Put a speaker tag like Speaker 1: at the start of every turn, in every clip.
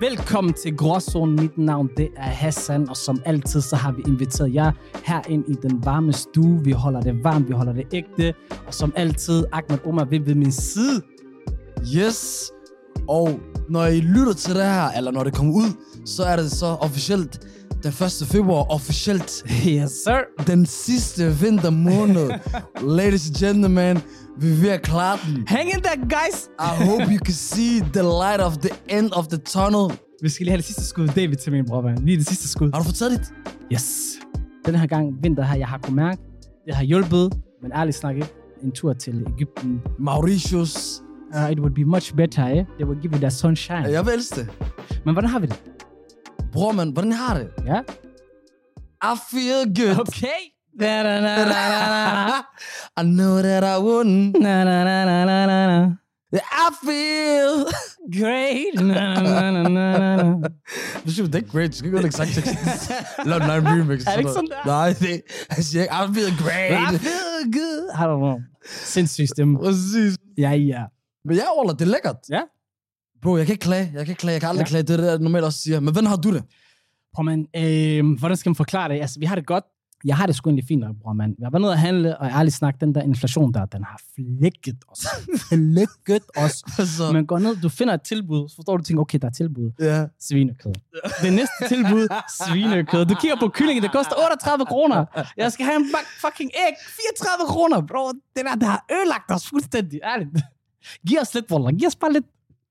Speaker 1: Velkommen til Gråzonen. Mit navn det er Hassan, og som altid så har vi inviteret jer herind i den varme stue. Vi holder det varmt, vi holder det ægte. Og som altid, Ahmed Omar ved ved min side.
Speaker 2: Yes. Og når I lytter til det her, eller når det kommer ud, så er det så officielt den 1. februar, officielt
Speaker 1: Yes, sir.
Speaker 2: den sidste vintermåned. Ladies and gentlemen, vi er ved at klare den.
Speaker 1: Hang in there, guys.
Speaker 2: I hope you can see the light of the end of the tunnel.
Speaker 1: Vi skal lige have det sidste skud David til min bror, man. Lige det sidste skud.
Speaker 2: Har du fået taget dit?
Speaker 1: Yes. Den her gang, vinter her, jeg har kunnet mærke, det har hjulpet, men ærligt snakket, en tur til Ægypten.
Speaker 2: Mauritius.
Speaker 1: Uh, it would be much better, eh? They would give you that sunshine.
Speaker 2: Jeg vil elske det.
Speaker 1: Men hvordan har vi det?
Speaker 2: Bror, man, hvordan har det?
Speaker 1: Ja?
Speaker 2: I feel good.
Speaker 1: Okay. Da, da, da, da, da, da.
Speaker 2: I know that I wouldn't.
Speaker 1: Na, na, na, na, na, na, na.
Speaker 2: I feel...
Speaker 1: Great. Na, na, na, na, na, na, na.
Speaker 2: Du siger, det er ikke great. Du skal ikke gøre det exakt tekst. Lav den egen remix.
Speaker 1: Er det ikke sådan der?
Speaker 2: Nej, det Han siger ikke, I'm feeling great.
Speaker 1: I feel good. I don't know. Sindssyg stemme.
Speaker 2: Præcis.
Speaker 1: Ja, ja.
Speaker 2: Men jeg overler, det er lækkert.
Speaker 1: Ja.
Speaker 2: Bro, jeg kan ikke klage. Jeg kan ikke klage. Jeg kan aldrig
Speaker 1: Ja.
Speaker 2: ja. klage. Det er det, jeg normalt også siger. Men hvordan har du det?
Speaker 1: Prøv man, øh, hvordan skal man forklare det? Altså, vi har det godt. Jeg har det sgu egentlig fint nok, bror mand. Jeg var nede og handle, og ærligt snak, den der inflation der, den har flækket os. flækket os.
Speaker 2: Altså, Men...
Speaker 1: Man går ned, du finder et tilbud, så forstår du, tænker, okay, der er et tilbud.
Speaker 2: ja.
Speaker 1: Svinekød. Det næste tilbud, svinekød. Du kigger på kyllingen, det koster 38 kroner. Jeg skal have en bak fucking æg. 34 kroner, bro. Det der, der har ødelagt os fuldstændig. Ærligt. Giv os lidt, Wallah. Giv os bare lidt.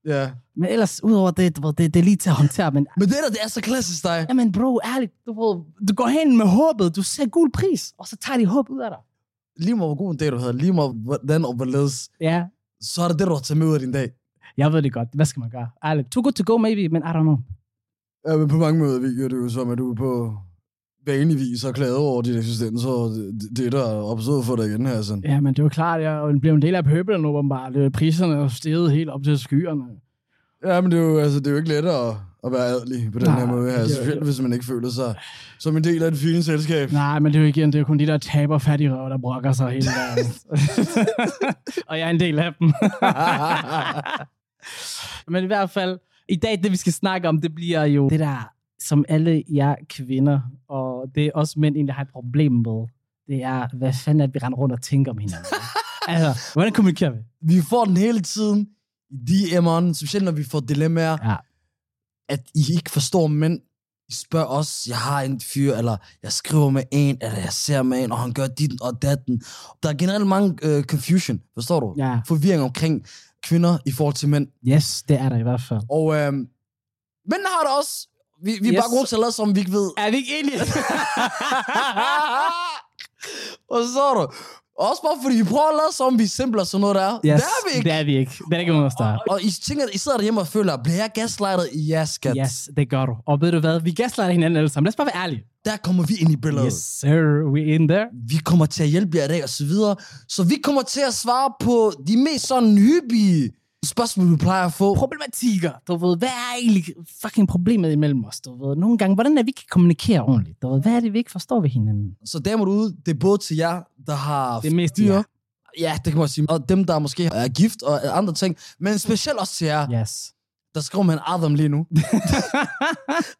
Speaker 2: ja.
Speaker 1: Men ellers, udover det, du ved, det, det er lige til at håndtere, men
Speaker 2: Men det der, det er så klassisk dig.
Speaker 1: Jamen bro, ærligt, du, ved, du går hen med håbet, du ser gul pris, og så tager de håb ud af dig.
Speaker 2: Lige meget, hvor god en dag du havde. Lige meget, hvordan og hvorledes.
Speaker 1: Ja,
Speaker 2: Så er det det, du har taget med ud af din dag.
Speaker 1: jeg ved det godt. Hvad skal man gøre? Ærligt, too good to go maybe, men I don't know.
Speaker 2: Ja, men på mange måder virker det jo som, at du er på vanligvis har klaget over din eksistens, og det, det der er opstået for dig igen her. Sådan.
Speaker 1: Ja, men det er jo klart, jeg blev en del af pøbelen åbenbart. Øh, Priserne er jo steget helt op til skyerne.
Speaker 2: Ja, men det er jo, altså, det er jo ikke let at, at være adelig på den
Speaker 1: Nej,
Speaker 2: her måde her.
Speaker 1: det er-
Speaker 2: Selvfølgelig, hvis man ikke føler sig som en del af det fine selskab.
Speaker 1: Nej, men det er jo igen, det er jo kun de der taber fattige røv, der brokker sig hele dagen. og jeg er en del af dem. Men i hvert fald, i dag det vi skal snakke om, det bliver jo det der, som alle jer kvinder, og det er også mænd egentlig har et problem med, det er, hvad fanden er det, vi render rundt og tænker om hinanden? altså, hvordan kommunikerer vi?
Speaker 2: vi får den hele tiden i DM'eren, specielt når vi får dilemmaer,
Speaker 1: Ja.
Speaker 2: at I ikke forstår mænd. I spørger os, jeg har en fyr, eller jeg skriver med en, eller jeg ser med en, og han gør dit og datten. Der er generelt mange øh, confusion, forstår du?
Speaker 1: Ja.
Speaker 2: Forvirring omkring kvinder i forhold til mænd.
Speaker 1: Yes, det er der i hvert fald.
Speaker 2: Og øh, mænd har det også. Vi, vi er
Speaker 1: Yes.
Speaker 2: bare gode til at lade, som om vi ikke ved,
Speaker 1: Er vi ikke enige?
Speaker 2: Og så er du. Også bare fordi, vi prøver at lade som om, vi er simple og sådan noget der.
Speaker 1: yes,
Speaker 2: det er vi ikke.
Speaker 1: Det er vi ikke. Det er ikke nogen at starte.
Speaker 2: Og I tænker, I sidder derhjemme og føler, bliver jeg gaslightet i jeres skat?
Speaker 1: Yes, det gør du. Og ved du hvad, vi gaslighter hinanden alle sammen. Lad os bare være ærlige.
Speaker 2: Der kommer vi ind i billedet.
Speaker 1: Yes, sir, we in there.
Speaker 2: Vi kommer til at hjælpe jer i dag og så videre. Så vi kommer til at svare på de mest sådan hyppige spørgsmål, vi plejer at få.
Speaker 1: problematikker. Du ved, hvad er egentlig fucking problemet imellem os? Du ved, nogle gange, hvordan er vi kan kommunikere ordentligt? Du ved, hvad er det, vi ikke forstår ved hinanden?
Speaker 2: Så damer ude, det er både til jer, der har
Speaker 1: Det er mest
Speaker 2: fyre.
Speaker 1: jer.
Speaker 2: Ja, det kan man sige. Og dem, der måske er gift og andre ting. Men specielt også til jer,
Speaker 1: Yes.
Speaker 2: der skriver man Adam lige nu.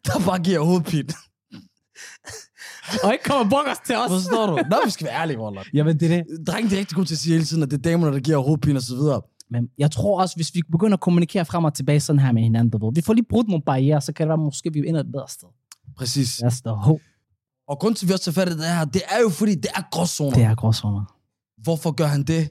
Speaker 2: der bare giver hovedpine.
Speaker 1: Og ikke kommer brokkers til os.
Speaker 2: Forstår du? Nå, vi skal være ærlige, Roller.
Speaker 1: Jamen, det er det.
Speaker 2: Drenge, de er rigtig gode til at sige hele tiden, at det er damerne, der giver hovedpine og så videre.
Speaker 1: Men jeg tror også, hvis vi begynder at kommunikere frem og tilbage sådan her med hinanden, du ved, vi får lige brudt nogle barriere, så kan det være, måske vi ender et bedre sted.
Speaker 2: Præcis. Ja.
Speaker 1: That's the hope.
Speaker 2: Og grunden til, at vi også tager fat i det her, det er jo, fordi det er gråzoner.
Speaker 1: Det
Speaker 2: Ja.
Speaker 1: er gråzoner.
Speaker 2: Hvorfor gør han det?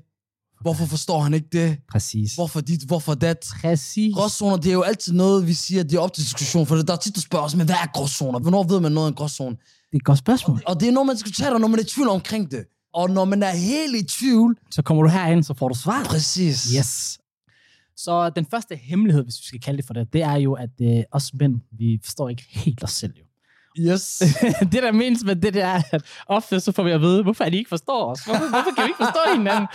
Speaker 2: Hvorfor forstår han ikke det?
Speaker 1: Præcis.
Speaker 2: Hvorfor dit? Hvorfor dat?
Speaker 1: Præcis.
Speaker 2: Gråzoner, det er jo altid noget, vi siger, det er op til diskussion, for der er tit, du spørger os, men hvad er gråzoner? Hvornår ved man noget om gråzone?
Speaker 1: Det er et godt spørgsmål.
Speaker 2: Og det er noget, man skal tage, når man er i tvivl omkring det. Og når man er helt i tvivl,
Speaker 1: Så kommer du herhen, så får du svar.
Speaker 2: præcis.
Speaker 1: Ah. Yes. Så den første hemmelighed, hvis vi skal kalde det for det, det er jo, at øh, os mænd, vi forstår ikke helt os selv jo.
Speaker 2: Yes.
Speaker 1: det, der menes med det, det er, at ofte så får vi at vide, hvorfor er de ikke forstår os? Hvorfor, hvorfor kan vi ikke forstå hinanden?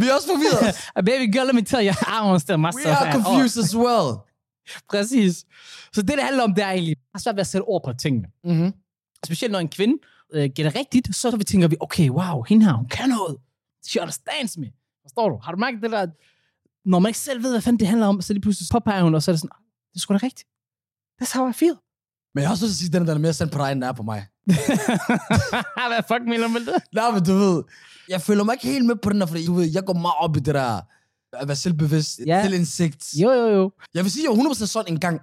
Speaker 2: Vi er også forvirret.
Speaker 1: Uh, Baby girl, let me tell you, I don't understand
Speaker 2: We
Speaker 1: myself.
Speaker 2: are
Speaker 1: at all.
Speaker 2: confused as well.
Speaker 1: Præcis. Så det, det handler om, det er egentlig, jeg har svært ved at sætte ord på tingene.
Speaker 2: Mm-hmm.
Speaker 1: Specielt når en kvinde øh, gætter rigtigt, så vi tænker vi, okay, wow, hende her, hun kan noget. She understands me. Forstår du? Har du mærket det der, at når man ikke selv ved, hvad fanden det handler om, så lige pludselig påpeger hun, og så er det sådan, "Ah, det er sgu da rigtigt. That's how I feel.
Speaker 2: Men jeg har også lyst til at sige, at den, den er mere sendt på dig, end den er på mig.
Speaker 1: hvad fuck mener du med det?
Speaker 2: Nej, men du ved, jeg føler mig ikke helt med på den der, fordi du ved, jeg går meget op i det der, at være selvbevidst,
Speaker 1: Ja.
Speaker 2: ja. selvindsigt.
Speaker 1: Jo, jo, jo.
Speaker 2: Jeg vil sige, at jeg var 100% sådan en gang.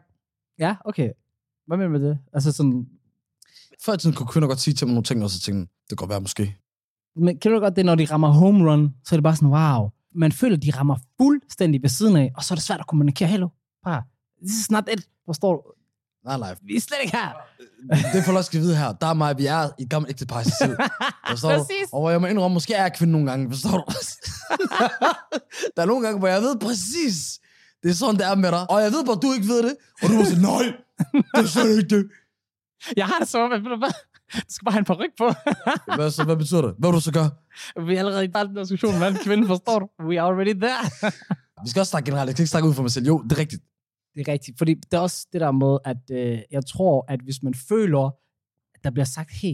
Speaker 1: Ja, okay. Hvad mener du med det? Altså sådan,
Speaker 2: Før i tiden kunne kvinder godt sige til mig nogle ting, og så tænkte jeg, det kan godt være måske.
Speaker 1: men kender du godt det, når de rammer home run, så er det bare sådan, wow. Man føler, de rammer fuldstændig ved siden af, og så er det svært at kommunikere. Hello, bare, this is not it. Forstår du?
Speaker 2: Nej, nej.
Speaker 1: Vi er slet ikke her.
Speaker 2: Det får du også skal vide her. Der er mig, vi er i et gammelt ægtepar i sig selv. Forstår du?
Speaker 1: Præcis.
Speaker 2: Og hvor jeg må indrømme, måske er jeg kvinde nogle gange. Forstår du? der er nogle gange, hvor jeg ved præcis, det er sådan, det er med dig. Og jeg ved bare, du ikke ved det. Og du må sige, nej, det er slet ikke det.
Speaker 1: Jeg har det som om, at ved du hvad? Du skal bare have en par ryg på.
Speaker 2: Hvad, så, hvad betyder det? Hvad vil du så gøre?
Speaker 1: Vi er allerede i starten af diskussionen, mand. Kvinden forstår du. We are already there.
Speaker 2: Vi skal også snakke generelt. Jeg kan ikke snakke ud for mig selv. Jo, det er rigtigt.
Speaker 1: Det er rigtigt. Fordi det er også det der med, at øh, jeg tror, at hvis man føler, at der bliver sagt, hey,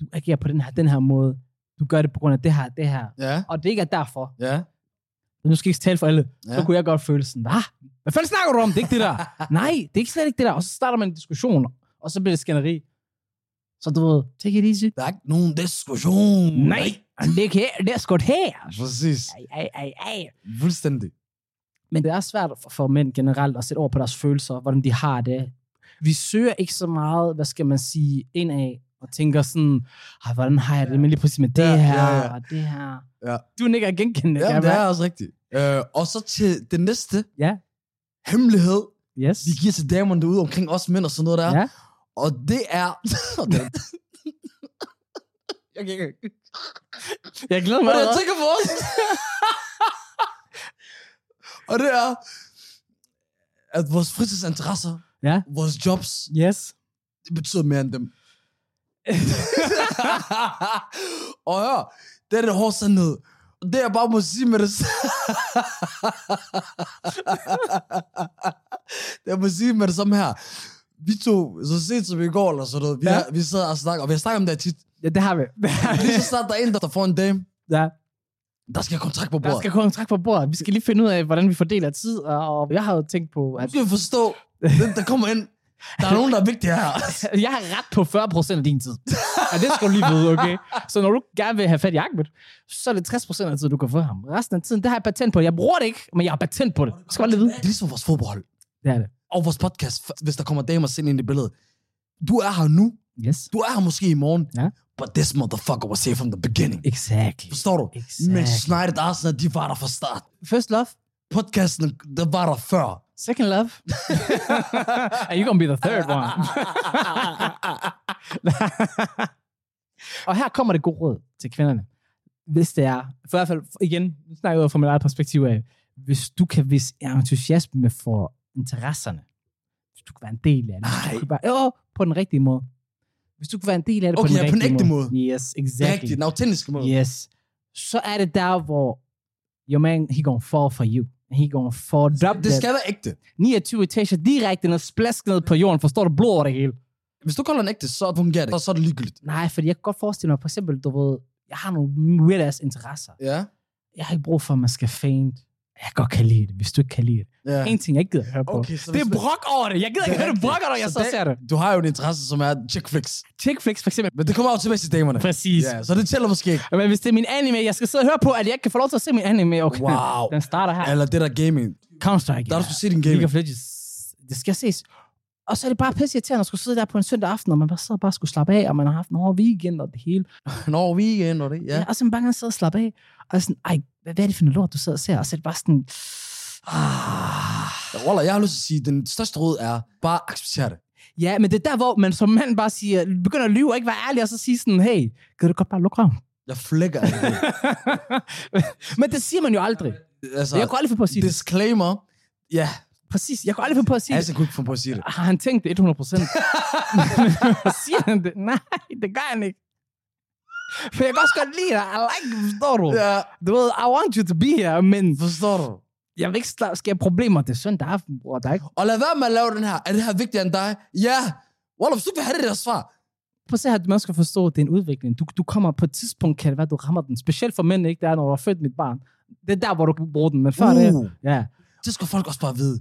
Speaker 1: du agerer på den her, den her måde. Du gør det på grund af det her, det her.
Speaker 2: Ja,
Speaker 1: Og det ikke er derfor.
Speaker 2: ja.
Speaker 1: Nu skal jeg ikke tale for alle. så
Speaker 2: Ja.
Speaker 1: kunne jeg godt føle sådan, hvad? Hvad fanden snakker du om? Det er ikke det der. Nej, det er ikke slet ikke det der. Og så starter man en diskussion, og så bliver det skænderi. Så du ved, take it easy.
Speaker 2: Der er ikke nogen diskussion.
Speaker 1: Nej, det er ikke her. Det er skudt her.
Speaker 2: Præcis.
Speaker 1: Ej, ej, ej, ej.
Speaker 2: Fuldstændig.
Speaker 1: Men det er svært for, for mænd generelt at sætte over på deres følelser, hvordan de har det. Vi søger ikke så meget, hvad skal man sige, indad, og tænker sådan, "Ej, hvordan har jeg det med lige præcis med det
Speaker 2: Ja, ja,
Speaker 1: her,
Speaker 2: ja.
Speaker 1: og det her.
Speaker 2: Ja.
Speaker 1: Du nikker genkendende.
Speaker 2: Ja,
Speaker 1: kan jeg
Speaker 2: det er
Speaker 1: mærke.
Speaker 2: også rigtigt. Øh, og så til det næste.
Speaker 1: Ja.
Speaker 2: Hemmelighed.
Speaker 1: Yes.
Speaker 2: Vi giver til damerne derude omkring os mænd og sådan noget der.
Speaker 1: Ja.
Speaker 2: Og det er... Og det- jeg kan ikke...
Speaker 1: Jeg glæder mig.
Speaker 2: Hvad jeg
Speaker 1: allerede.
Speaker 2: tænker på os? og det er... At vores fritidsinteresser,
Speaker 1: Ja.
Speaker 2: vores jobs,
Speaker 1: Yes.
Speaker 2: det betyder mere end dem. og hør, det er det hårde sandhed. Og det jeg bare må sige med det samme. det jeg må sige med det samme her. Vi to, så sent som i går eller sådan noget, vi,
Speaker 1: Ja.
Speaker 2: ja. vi sad og snakker, og vi har snakket om det her tit.
Speaker 1: Ja, det har vi.
Speaker 2: Lige så snart der er en, der får en dame,
Speaker 1: ja.
Speaker 2: der skal kontrakt på
Speaker 1: Der
Speaker 2: bordet.
Speaker 1: skal kontrakt på bordet. Vi skal lige finde ud af, hvordan vi fordeler tid, og og jeg har jo tænkt på,
Speaker 2: Nu
Speaker 1: at
Speaker 2: skal vi forstå, den der kommer ind, der er nogen, der er vigtige her.
Speaker 1: jeg har ret på 40% af din tid. Ja, det skal du lige vide, okay? Så når du gerne vil have fat i Ahmed, så er det 60% af tiden, du kan få ham. Resten af tiden, det har jeg patent på. Jeg bruger det ikke, men jeg har patent på det. Du skal bare lige vide.
Speaker 2: Det er ligesom vores fodbold
Speaker 1: Det er det.
Speaker 2: og vores podcast, hvis der kommer damer sind ind i billedet. Du er her nu,
Speaker 1: Yes.
Speaker 2: Du er her måske i morgen,
Speaker 1: Ja.
Speaker 2: but this motherfucker was here from the beginning.
Speaker 1: Exactly.
Speaker 2: Forstår du?
Speaker 1: Exakt.
Speaker 2: Manchester United Arsenal, de var der fra start.
Speaker 1: First love.
Speaker 2: Podcasten, der var der før.
Speaker 1: Second love. And you're gonna be the third one. Og her kommer det gode råd til kvinderne. Hvis det er, for i hvert fald igen, nu snakker jeg ud fra mit eget perspektiv af, hvis du kan vise entusiasme for interesserne, hvis du kan være en del af det, hvis du
Speaker 2: Nej.
Speaker 1: kan være, jo, på den rigtige måde. Hvis du kan være en del af det
Speaker 2: Okay,
Speaker 1: på den
Speaker 2: ja, på den
Speaker 1: rigtige
Speaker 2: ægte
Speaker 1: Yes, exactly.
Speaker 2: Rigtigt, den autentiske måde.
Speaker 1: Yes. Så er det der, hvor your man, he gonna fall for you. He gonna fall. Drop
Speaker 2: Det
Speaker 1: that.
Speaker 2: skal være ægte.
Speaker 1: 29 etager direkte ned, splask ned på jorden, forstår du, blod over det hele.
Speaker 2: Hvis du kalder den ægte, så fungerer det. Så, så er det ligegyldigt.
Speaker 1: Nej, fordi jeg kan godt forestille mig, for eksempel, du ved, jeg har nogle weird ass interesser.
Speaker 2: Ja.
Speaker 1: Jeg har ikke brug for, at man skal faint. Jeg kan godt kan lide det, hvis du ikke kan lide det.
Speaker 2: ja.
Speaker 1: En ting, jeg ikke gider at høre på.
Speaker 2: Okay, så
Speaker 1: det er
Speaker 2: hvis-
Speaker 1: brok over det. Jeg gider ikke høre, du
Speaker 2: rigtigt.
Speaker 1: brokker dig, jeg så,
Speaker 2: det-
Speaker 1: ser det.
Speaker 2: Du har jo en interesse, som er chick flicks.
Speaker 1: Chickflix for eksempel.
Speaker 2: Men det kommer automatisk til damerne.
Speaker 1: Præcis.
Speaker 2: Ja, så det tæller måske ikke.
Speaker 1: Yeah. Men hvis det er min anime, jeg skal sidde og høre på, at jeg ikke kan få lov til at se min anime. Okay.
Speaker 2: Wow.
Speaker 1: Den starter her.
Speaker 2: Eller det der gaming.
Speaker 1: Counter-Strike.
Speaker 2: Der er du skulle se din
Speaker 1: League
Speaker 2: gaming.
Speaker 1: of Legends. Det skal ses. Og så er det bare pisse irriterende at skulle sidde der på en søndag aften, og man bare sidder og bare skulle slappe af, og man har haft en hård weekend og det hele.
Speaker 2: Nå, weekend og det. Ja.
Speaker 1: Ja. Og så man bare gerne sidde og slappe af. Og sådan, ej, hvad, hvad er det for noget lort, du sidder og ser? Og så er det bare sådan, ah.
Speaker 2: ja. Wallah, jeg har lyst til at sige, at den største råd er, bare acceptere det.
Speaker 1: Ja, men det er der, hvor man som mand bare siger, begynder at lyve og ikke være ærlig, og så siger sådan, hey, kan du godt bare lukke røven?
Speaker 2: Jeg flækker af det.
Speaker 1: men det siger man jo aldrig.
Speaker 2: Altså,
Speaker 1: Jeg kunne aldrig få på at sige det.
Speaker 2: Disclaimer. Ja,
Speaker 1: Præcis, jeg kunne aldrig finde på at sige
Speaker 2: Hassan Altså, kunne ikke få på at sige det.
Speaker 1: Har han tænkt det 100 procent? siger han det? Nej, det gør han ikke. For jeg kan også godt lide dig. I like you, forstår du? Yeah.
Speaker 2: Ja,
Speaker 1: Du ved, I want you to be here, men
Speaker 2: forstår du?
Speaker 1: jeg vil ikke sta- skabe problemer. Det er søndag aften, bror. Der er ikke...
Speaker 2: Og lad være med at lave den her. Er det her vigtigere end dig? Ja. Wallah, hvis du vil have det der svar.
Speaker 1: Prøv at se her, man skal forstå, at det er en udvikling. Du, du kommer på et tidspunkt, kan det være, du rammer den. Specielt for mænd, ikke? Det er, når du har født mit barn. Det er der, hvor du kan bruge den, men før det...
Speaker 2: Uh,
Speaker 1: Ja.
Speaker 2: det skal folk også bare vide.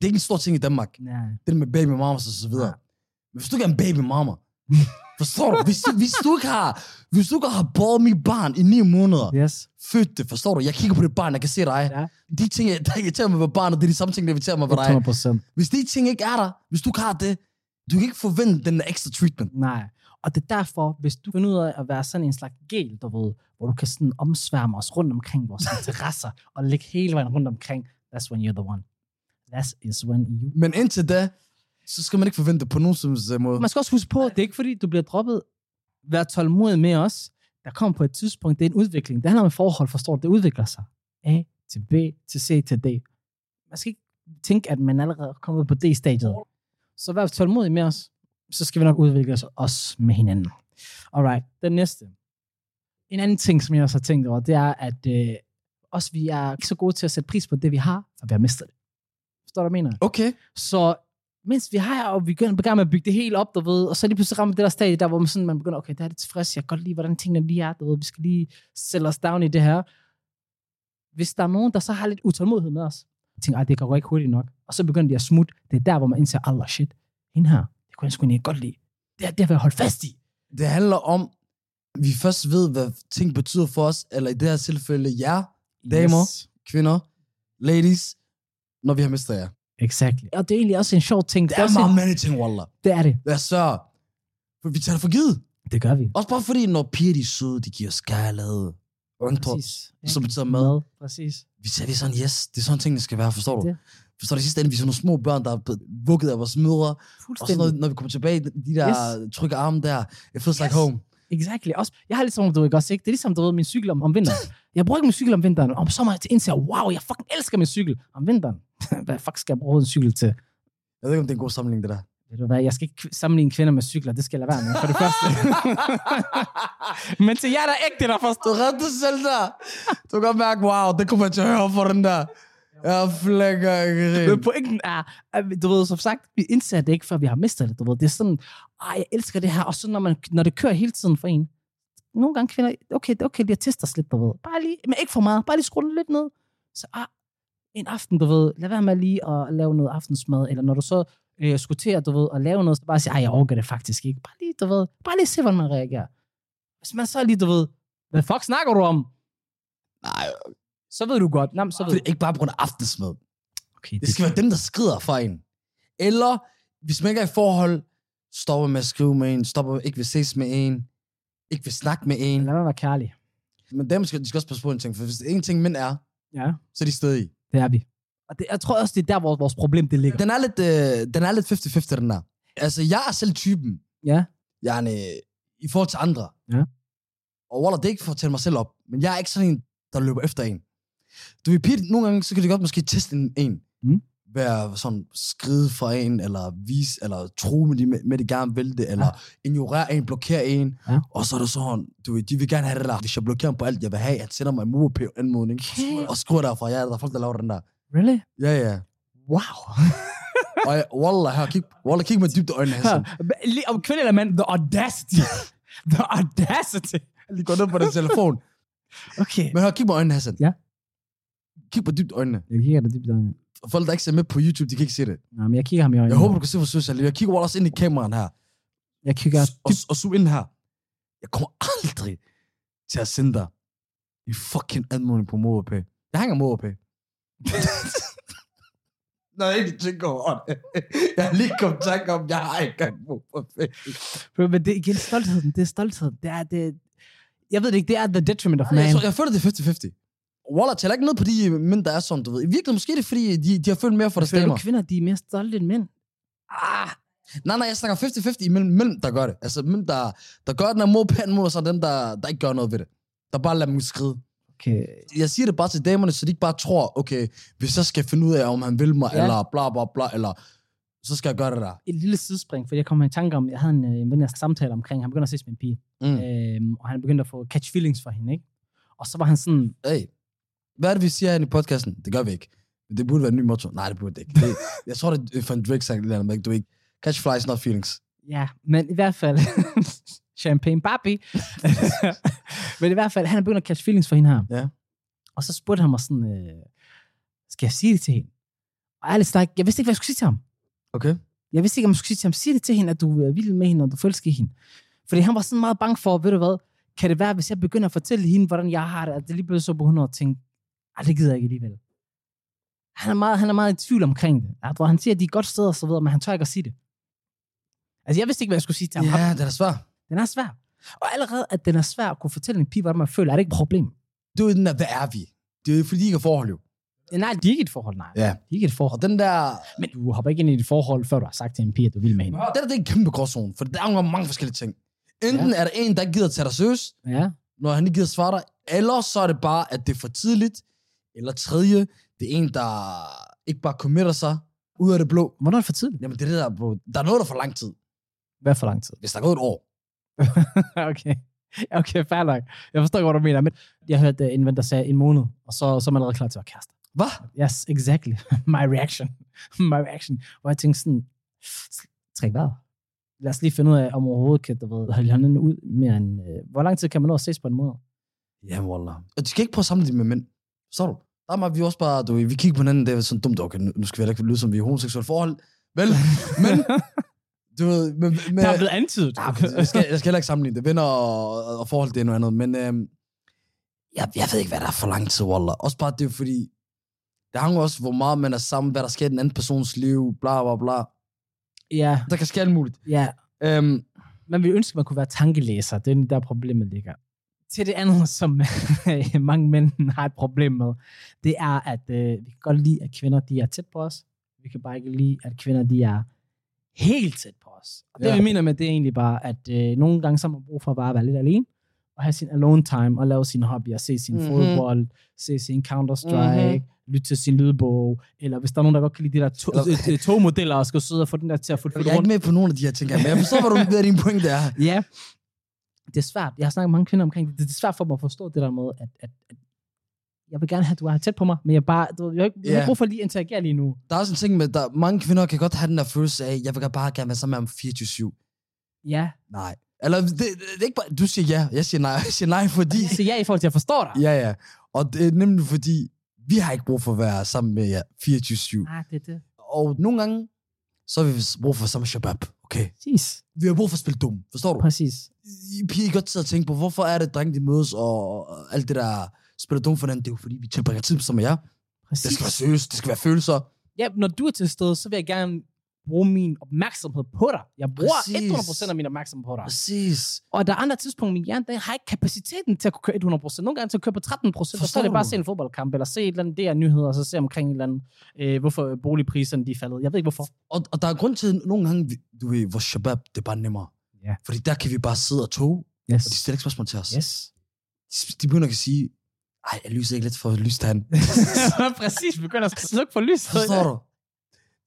Speaker 2: Det er ikke en stor ting i Danmark.
Speaker 1: ja.
Speaker 2: Det der med baby mamas og så videre. Men hvis du ikke er en baby mama, forstår du? Hvis, du- hvis du ikke har, hvis du ikke har båret mit barn i ni måneder,
Speaker 1: Yes.
Speaker 2: født det, forstår du? Jeg kigger på det barn, jeg kan se dig.
Speaker 1: Ja.
Speaker 2: De ting, der irriterer mig ved barnet, det er de samme ting, der irriterer mig ved dig.
Speaker 1: 100 procent.
Speaker 2: Hvis de ting ikke er der, hvis du ikke har det, du kan ikke forvente den der ekstra treatment.
Speaker 1: Nej. Og det er derfor, hvis du finder ud af at være sådan en slags gel, du ved, hvor du kan sådan omsværme os rundt omkring vores interesser, og ligge hele vejen rundt omkring, that's when you're the one. That is when you...
Speaker 2: Men indtil da, så skal man ikke forvente det på nogen som helst måde.
Speaker 1: Man skal også huske på, det er ikke fordi, du bliver droppet. Vær tålmodig med os. Der kommer på et tidspunkt, det er en udvikling. Det handler om et forhold, forstår du? Det udvikler sig. A til B til C til D. Man skal ikke tænke, at man allerede er kommet på D-stadiet. Så vær tålmodig med os. Så skal vi nok udvikle os, os med hinanden. Alright, den næste. En anden ting, som jeg også har tænkt over, det er, at øh, også vi er ikke så gode til at sætte pris på det, vi har, for vi har mistet det. Forstår du, hvad jeg mener?
Speaker 2: Okay.
Speaker 1: Så mens vi har, og vi begynder, begynder med at bygge det helt op, du ved, og så lige pludselig rammer det der stadie, der hvor man, sådan, man begynder, okay, der er det tilfreds, jeg kan godt lide, hvordan tingene lige er, du ved, vi skal lige sælge os down i det her. Hvis der er nogen, der så har lidt utålmodighed med os, og tænker, "Ej, det går ikke hurtigt nok, og så begynder de at smutte, det er der, hvor man indser, Allah shit, hende her, det kunne jeg sgu egentlig godt lide. Det er det, jeg vil holde fast i.
Speaker 2: Det handler om, at vi først ved, hvad ting betyder for os, eller i det her tilfælde jer, Damer. kvinder, ladies, når vi har mistet jer.
Speaker 1: Exactly. Og det er egentlig også en sjov ting.
Speaker 2: Det
Speaker 1: Det er,
Speaker 2: er
Speaker 1: også
Speaker 2: meget
Speaker 1: en,
Speaker 2: mange ting, Wallah.
Speaker 1: det er det.
Speaker 2: Lad os sørge. For vi tager det for givet.
Speaker 1: Det gør vi.
Speaker 2: Også bare fordi, når piger de er søde, de giver os kærlighed. Undtår.
Speaker 1: Præcis.
Speaker 2: Som betyder mad.
Speaker 1: Præcis.
Speaker 2: Vi tager vi er sådan, yes, det er sådan ting, det skal være, forstår du?
Speaker 1: Det.
Speaker 2: Forstår du, i sidste ende, vi er sådan nogle små børn, der er blevet vugget af vores mødre. Og så når,
Speaker 1: Fuldstændig.
Speaker 2: når vi kommer tilbage, de der yes. trygge arme der, it feels yes. like
Speaker 1: Yes.
Speaker 2: home.
Speaker 1: Exactly. Også, jeg har lidt som, du ikke også, ikke? Det er ligesom, du ved, min cykel om, om vinteren. Jeg bruger ikke min cykel om vinteren. Om sommeren til indser, jeg, wow, jeg fucking elsker min cykel om vinteren. hvad fuck skal jeg bruge en cykel til?
Speaker 2: Jeg ved ikke, om det er en god sammenligning, det der.
Speaker 1: Ved du hvad, jeg skal ikke kv- sammenligne kvinder med cykler. Det skal jeg lade være med, for det første. Men til jer, der er ægte, der forstår.
Speaker 2: du redte dig selv der. Du kan godt mærke, wow, det kommer jeg til at høre for den der. Jeg flækker ikke
Speaker 1: Men pointen er, at vi- du ved, som sagt, vi indser det ikke, før vi har mistet det. Du ved, det er sådan, Ej, jeg elsker det her. Og så når, man, når det kører hele tiden for en. Nogle gange kvinder, okay, det er okay, lige at teste os lidt, du ved. Bare lige, men ikke for meget, bare lige skrue den lidt ned. Så ah, en aften, du ved, lad være med lige at lave noget aftensmad, eller når du så øh, skulle til at, du ved, at lave noget, så bare sige, ej, jeg overgår det faktisk ikke. Bare lige, du ved, bare lige se, hvordan man reagerer. Hvis man så lige, du ved, hvad fuck snakker du om?
Speaker 2: Nej,
Speaker 1: Så ved du godt. Nå, men så ved
Speaker 2: det
Speaker 1: du.
Speaker 2: er ikke bare på grund af aftensmad.
Speaker 1: Okay,
Speaker 2: Det skal være dem, der skrider for en. Eller, hvis man ikke er i forhold, stopper med at skrive med en, stopper ikke vil ses med en, ikke vil snakke med en.
Speaker 1: Lad mig være kærlig.
Speaker 2: Men dem skal, de skal også passe på en ting, for hvis en ting mænd er,
Speaker 1: Ja.
Speaker 2: så er de stedige.
Speaker 1: Det er vi. Og det, jeg tror også, det er der, hvor vores problem det ligger.
Speaker 2: Den er lidt, øh, den er lidt 50-50, den der. Altså, jeg er selv typen,
Speaker 1: Ja.
Speaker 2: jeg er en, øh, i forhold til andre.
Speaker 1: Ja.
Speaker 2: Og Waller, det er ikke for at tælle mig selv op, men jeg er ikke sådan en, der løber efter en. Du ved, piger, nogle gange, så kan det godt måske teste en. en.
Speaker 1: Mm.
Speaker 2: Være sådan skride fra en, eller vise, eller tro med, de, med det gerne vil det, eller
Speaker 1: Ja.
Speaker 2: ignorere en, blokere en.
Speaker 1: Ja.
Speaker 2: Og så er det sådan, du ved, de vil gerne have det der. Hvis jeg blokerer ham på alt, jeg vil have, han sender mig en murpæv-anmodning.
Speaker 1: Okay.
Speaker 2: Og skriver derfra, ja, der er folk, der laver den der.
Speaker 1: Really?
Speaker 2: Ja, ja.
Speaker 1: Wow.
Speaker 2: Og jeg, Wallah, her, kig, Wallah, kig mig dybt i øjnene,
Speaker 1: Altså.
Speaker 2: Hassan.
Speaker 1: Lige om kvinde eller mand, the audacity. the audacity.
Speaker 2: Lige gå ned på den telefon.
Speaker 1: Okay.
Speaker 2: Men hør, kig mig i øjnene, Hassan.
Speaker 1: Ja.
Speaker 2: Kig mig dybt i øjnene.
Speaker 1: Jeg kigger dig dybt i øjnene.
Speaker 2: folk, der ikke ser med på YouTube, de kan ikke se det.
Speaker 1: Nej, men jeg kigger ham i øjnene.
Speaker 2: Jeg håber, du kan se, hvor søs jeg er. Jeg kigger også ind i kameraen her,
Speaker 1: Jeg kigger
Speaker 2: s- og, og zoom ind her. Jeg kommer aldrig til at sende dig en fucking anmodning på MobileP. Jeg hænger MobileP. Når jeg ikke tænker over det. Jeg har lige kommet i tanke om, jeg har ikke engang MobileP.
Speaker 1: dybt. Men det er igen stoltheden. Det er stoltheden. Det er det... Jeg ved det ikke, det er the detriment of
Speaker 2: Jeg,
Speaker 1: man.
Speaker 2: tror, jeg føler, det er 50-50. Wallah, tæller ikke ned på de øh, mænd, der er sådan, du ved. I virkeligheden måske er det, fordi øh, de, de har følt mere for deres
Speaker 1: Føler du,
Speaker 2: damer.
Speaker 1: kvinder, de er mere stolte end mænd? Ah,
Speaker 2: Nej, nej, jeg snakker 50-50 imellem, mellem, der gør det. Altså, mellem, der, der gør den her mod mod, og så dem, der, der ikke gør noget ved det. Der bare lader dem skride.
Speaker 1: Okay.
Speaker 2: Jeg siger det bare til damerne, så de ikke bare tror, okay, hvis jeg skal finde ud af, om han vil mig,
Speaker 1: Ja.
Speaker 2: ja. eller bla bla bla, eller så skal jeg gøre det der.
Speaker 1: Et lille sidespring, for jeg kom i tanke om, jeg havde en, øh, en ven, jeg samtale omkring, han begyndte at ses med en pige,
Speaker 2: Mm.
Speaker 1: øhm, og han begyndte at få catch feelings for hende, ikke? Og så var han sådan,
Speaker 2: Hey, hvad er det, vi siger herinde i podcasten? Det gør vi ikke. Det burde være en ny motto. Nej, det burde det ikke. Det, jeg tror, det er for en Drake-sang, eller andet, men du ikke. Catch flies, not feelings.
Speaker 1: Ja, men i hvert fald... Champagne Barbie. men i hvert fald, han er begyndt at catch feelings for hende her.
Speaker 2: Ja.
Speaker 1: Og så spurgte han mig sådan, øh, skal jeg sige det til hende? Og ærligt snak, jeg vidste ikke, hvad jeg skulle sige til ham.
Speaker 2: Okay.
Speaker 1: Jeg vidste ikke, om jeg skulle sige til ham, sig det til hende, at du er vild med hende, og du forelsker i hende. Fordi han var sådan meget bange for, ved du hvad, kan det være, hvis jeg begynder at fortælle hende, hvordan jeg har det, at det lige bliver så begynder at tænke, ej, det gider jeg ikke alligevel. Han er meget, han er meget i tvivl omkring det. Ja, du ved, Han siger, at de er godt steder og så videre, men han tør ikke at sige det. Altså, jeg vidste ikke, hvad jeg skulle sige til ham.
Speaker 2: Ja, det er da svært.
Speaker 1: Den er svær. Og allerede, at den er svær at kunne fortælle en pige, hvordan man føler, er det ikke et problem?
Speaker 2: Det er jo den der, hvad er vi? Det er jo fordi, I ikke er forhold, jo.
Speaker 1: Nej, de er ikke et forhold, nej.
Speaker 2: Ja.
Speaker 1: De er ikke et
Speaker 2: Og
Speaker 1: forhold.
Speaker 2: den der,
Speaker 1: Men du hopper ikke ind i et forhold, før du har sagt til en pige, at du vil med hende.
Speaker 2: den der det er en kæmpe gråzone, for der er jo mange forskellige ting. Enten ja. er der en, der ikke gider tage dig seriøst,
Speaker 1: Ja.
Speaker 2: når han ikke gider svare dig, eller så er det bare, at det er for tidligt, eller tredje, det er en, der ikke bare committer sig ud af det blå.
Speaker 1: Hvornår er det for tidligt?
Speaker 2: Jamen det er det der, bro. der er noget, der er for lang tid,
Speaker 1: Hvad for lang tid?
Speaker 2: hvis der er gået et år.
Speaker 1: okay. Okay, fair nok. Jeg forstår ikke, hvad du mener, men jeg hørte øh, en ven, der sagde en måned, og så, så er man allerede klar til at være kæreste.
Speaker 2: Hvad?
Speaker 1: Yes, exactly. My reaction. My reaction. Hvor jeg tænkte sådan, træk vejret. Lad os lige finde ud af, om overhovedet kan, du ved, holde hinanden ud mere end... Øh, hvor lang tid kan man nå at ses på en måned?
Speaker 2: Jamen, wallah. Og du skal ikke prøve at sammenligne det med mænd. Så du? Der er meget, vi også bare, du, ved, vi kigger på hinanden, det er sådan dumt, okay, nu nu skal vi heller ikke lyde som, vi er i homoseksuelle forhold. Vel, men, du ved, med, med,
Speaker 1: Der er blevet antydet.
Speaker 2: Nej, men jeg, skal, jeg skal heller ikke sammenligne det. Venner og, og- og forhold, det er noget andet. Men øhm, jeg, jeg ved ikke, hvad der er for lang tid, Wallah. Også bare det, er fordi det hænger også, hvor meget man er sammen, hvad der sker i den anden persons liv, bla bla bla.
Speaker 1: ja,
Speaker 2: Der kan ske alt muligt.
Speaker 1: ja,
Speaker 2: Øhm,
Speaker 1: man ville ønske, man kunne være tankelæser. Det er der, problemet ligger. Til det andet, som øh, mange mænd har et problem med, det er, at øh, vi kan godt lide, at kvinder de er tæt på os. Vi kan bare ikke lide, at kvinder de er helt tæt på os. Og det,
Speaker 2: Ja.
Speaker 1: ja. vi mener med, det er egentlig bare, at øh, nogle gange så har man brug for bare at være lidt alene, og have sin alone time, og lave sine hobbyer, se sin
Speaker 2: Mhm.
Speaker 1: mm-hmm. fodbold, se sin Counter-Strike, mm-hmm. lytte til sin lydbog, eller hvis der er nogen, der godt kan lide de der to-
Speaker 2: Eller-
Speaker 1: øh, øh, togmodeller, og skal sidde og få den der til at få
Speaker 2: jeg er ikke med på nogen af de her ting her, men jeg forstår, hvad, du, hvad din pointe er.
Speaker 1: Ja, det er svært. Jeg har snakket med mange kvinder omkring det. Det er svært for mig at forstå det der med, at, at, at jeg vil gerne have, at du er tæt på mig, men jeg, bare, du, ved, jeg har ikke jeg har
Speaker 2: Ja.
Speaker 1: ikke brug for at lige at interagere lige nu.
Speaker 2: Der er også en ting med, der mange kvinder kan godt have den der følelse af, jeg vil godt bare gerne være sammen med ham 24-7.
Speaker 1: Ja,
Speaker 2: Nej. Eller det, det, er ikke bare, du siger ja, jeg siger nej, jeg siger nej, fordi...
Speaker 1: så ja i forhold til, at jeg forstår dig.
Speaker 2: Ja, ja. Og det er nemlig fordi, vi har ikke brug for at være sammen med jer 24-7.
Speaker 1: Ah, det er det.
Speaker 2: Og nogle gange, så har vi brug for samme shabab, okay?
Speaker 1: Præcis.
Speaker 2: Vi har brug for at spille dum, forstår du?
Speaker 1: Præcis.
Speaker 2: I piger I godt sidde og tænke på, hvorfor er det, at drenge de mødes, og og alt det der spiller dum for hinanden, det er jo fordi, vi tilbringer tid sammen med jer. Det
Speaker 1: Præcis.
Speaker 2: skal være seriøst, det skal være følelser.
Speaker 1: Ja, når du er til stede, så vil jeg gerne bruge min opmærksomhed på dig. Jeg bruger
Speaker 2: Præcis.
Speaker 1: 100% af min opmærksomhed på dig.
Speaker 2: Præcis.
Speaker 1: Og der er andre tidspunkter, min hjerne den har ikke kapaciteten til at kunne køre 100%. Nogle gange til at køre på 13%, og så
Speaker 2: Forstår
Speaker 1: er det bare at
Speaker 2: du?
Speaker 1: se en fodboldkamp, eller se et eller andet der nyheder, og så se omkring et eller andet, øh, hvorfor boligpriserne de er faldet. Jeg ved ikke, hvorfor.
Speaker 2: Og, og der er grund til, at nogle gange, vi- du ved, vores shabab, det er bare nemmere.
Speaker 1: Ja.
Speaker 2: Fordi der kan vi bare sidde og tog,
Speaker 1: Yes.
Speaker 2: og de stiller ikke spørgsmål til os.
Speaker 1: Yes.
Speaker 2: De, de begynder at sige, ej, jeg lyser ikke lidt for lyst han.
Speaker 1: Præcis, vi begynder at slukke for lyset.
Speaker 2: Forstår du?